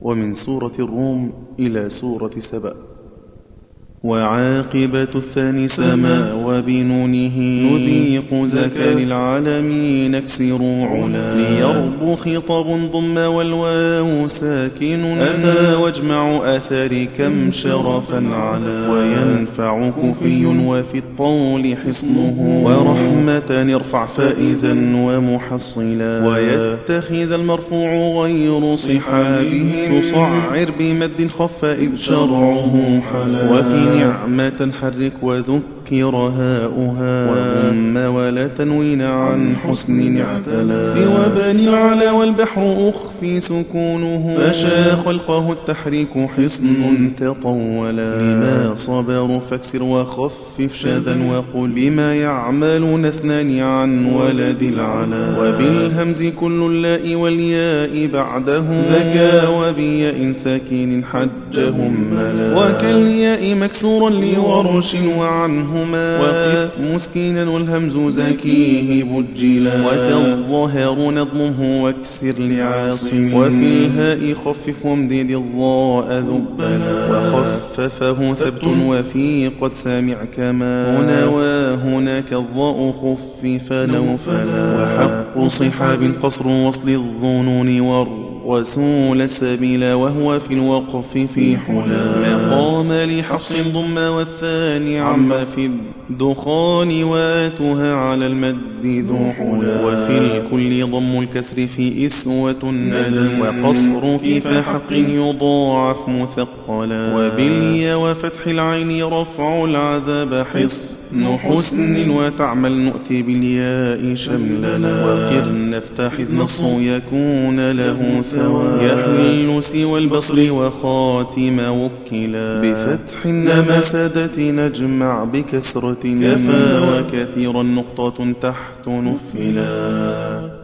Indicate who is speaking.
Speaker 1: ومن سورة الروم إلى سورة سبأ وعاقبة الثاني سما وبنونه نذيق زكا للعالمين نكسر علا ليرب خطب ضم والواو ساكن أتى واجمع أثر كم شرفا على وينفع كفي وفي الطول حصنه ورحمة ارفع فائزا ومحصلا ويتخذ المرفوع غير صحابه تصعر بمد خف إذ شرعه حلا وفي نعمة حرك وذكر هاؤها وأم ولا تنوين عن حسن اعتلى سوى بني العلا والبحر أخفي سكونه فشا خلقه التحريك حصن تطولا لما صبروا فاكسر وخفف شذا وقل بما يعملون اثنان عن ولد العلا وبالهمز كل اللاء والياء بعده ذكا وبياء ساكن حجهم ملا وكالياء مكسورا لورش وعنهما وقف مسكينا والهمز زكيه بجلا وتظهر نظمه واكسر لعاصم وفي الهاء خفف وامدد الضاء ذبلا وخففه ثبت وفي قد سامع كما هنا وهناك الضاء خفف نوفلا وحق صحاب قصر وصل الظنون والر وسول السبيل وهو في الوقف في حلا مقام لحفص ضم والثاني عم في الدخان واتها على المد ذو حلا وفي الكل ضم الكسر في إسوة ندم وقصر كيف حق يضاعف مثقلا وباليا وفتح العين رفع العذاب حصن حسن وتعمل نؤتي بالياء شمللا وقرن افتح إذ نص يكون له ثواب يحل سوى البصر وخاتم وكلا بفتح النمسدة نجمع بكسرة كفى وكثيرا نقطة تحت نفلا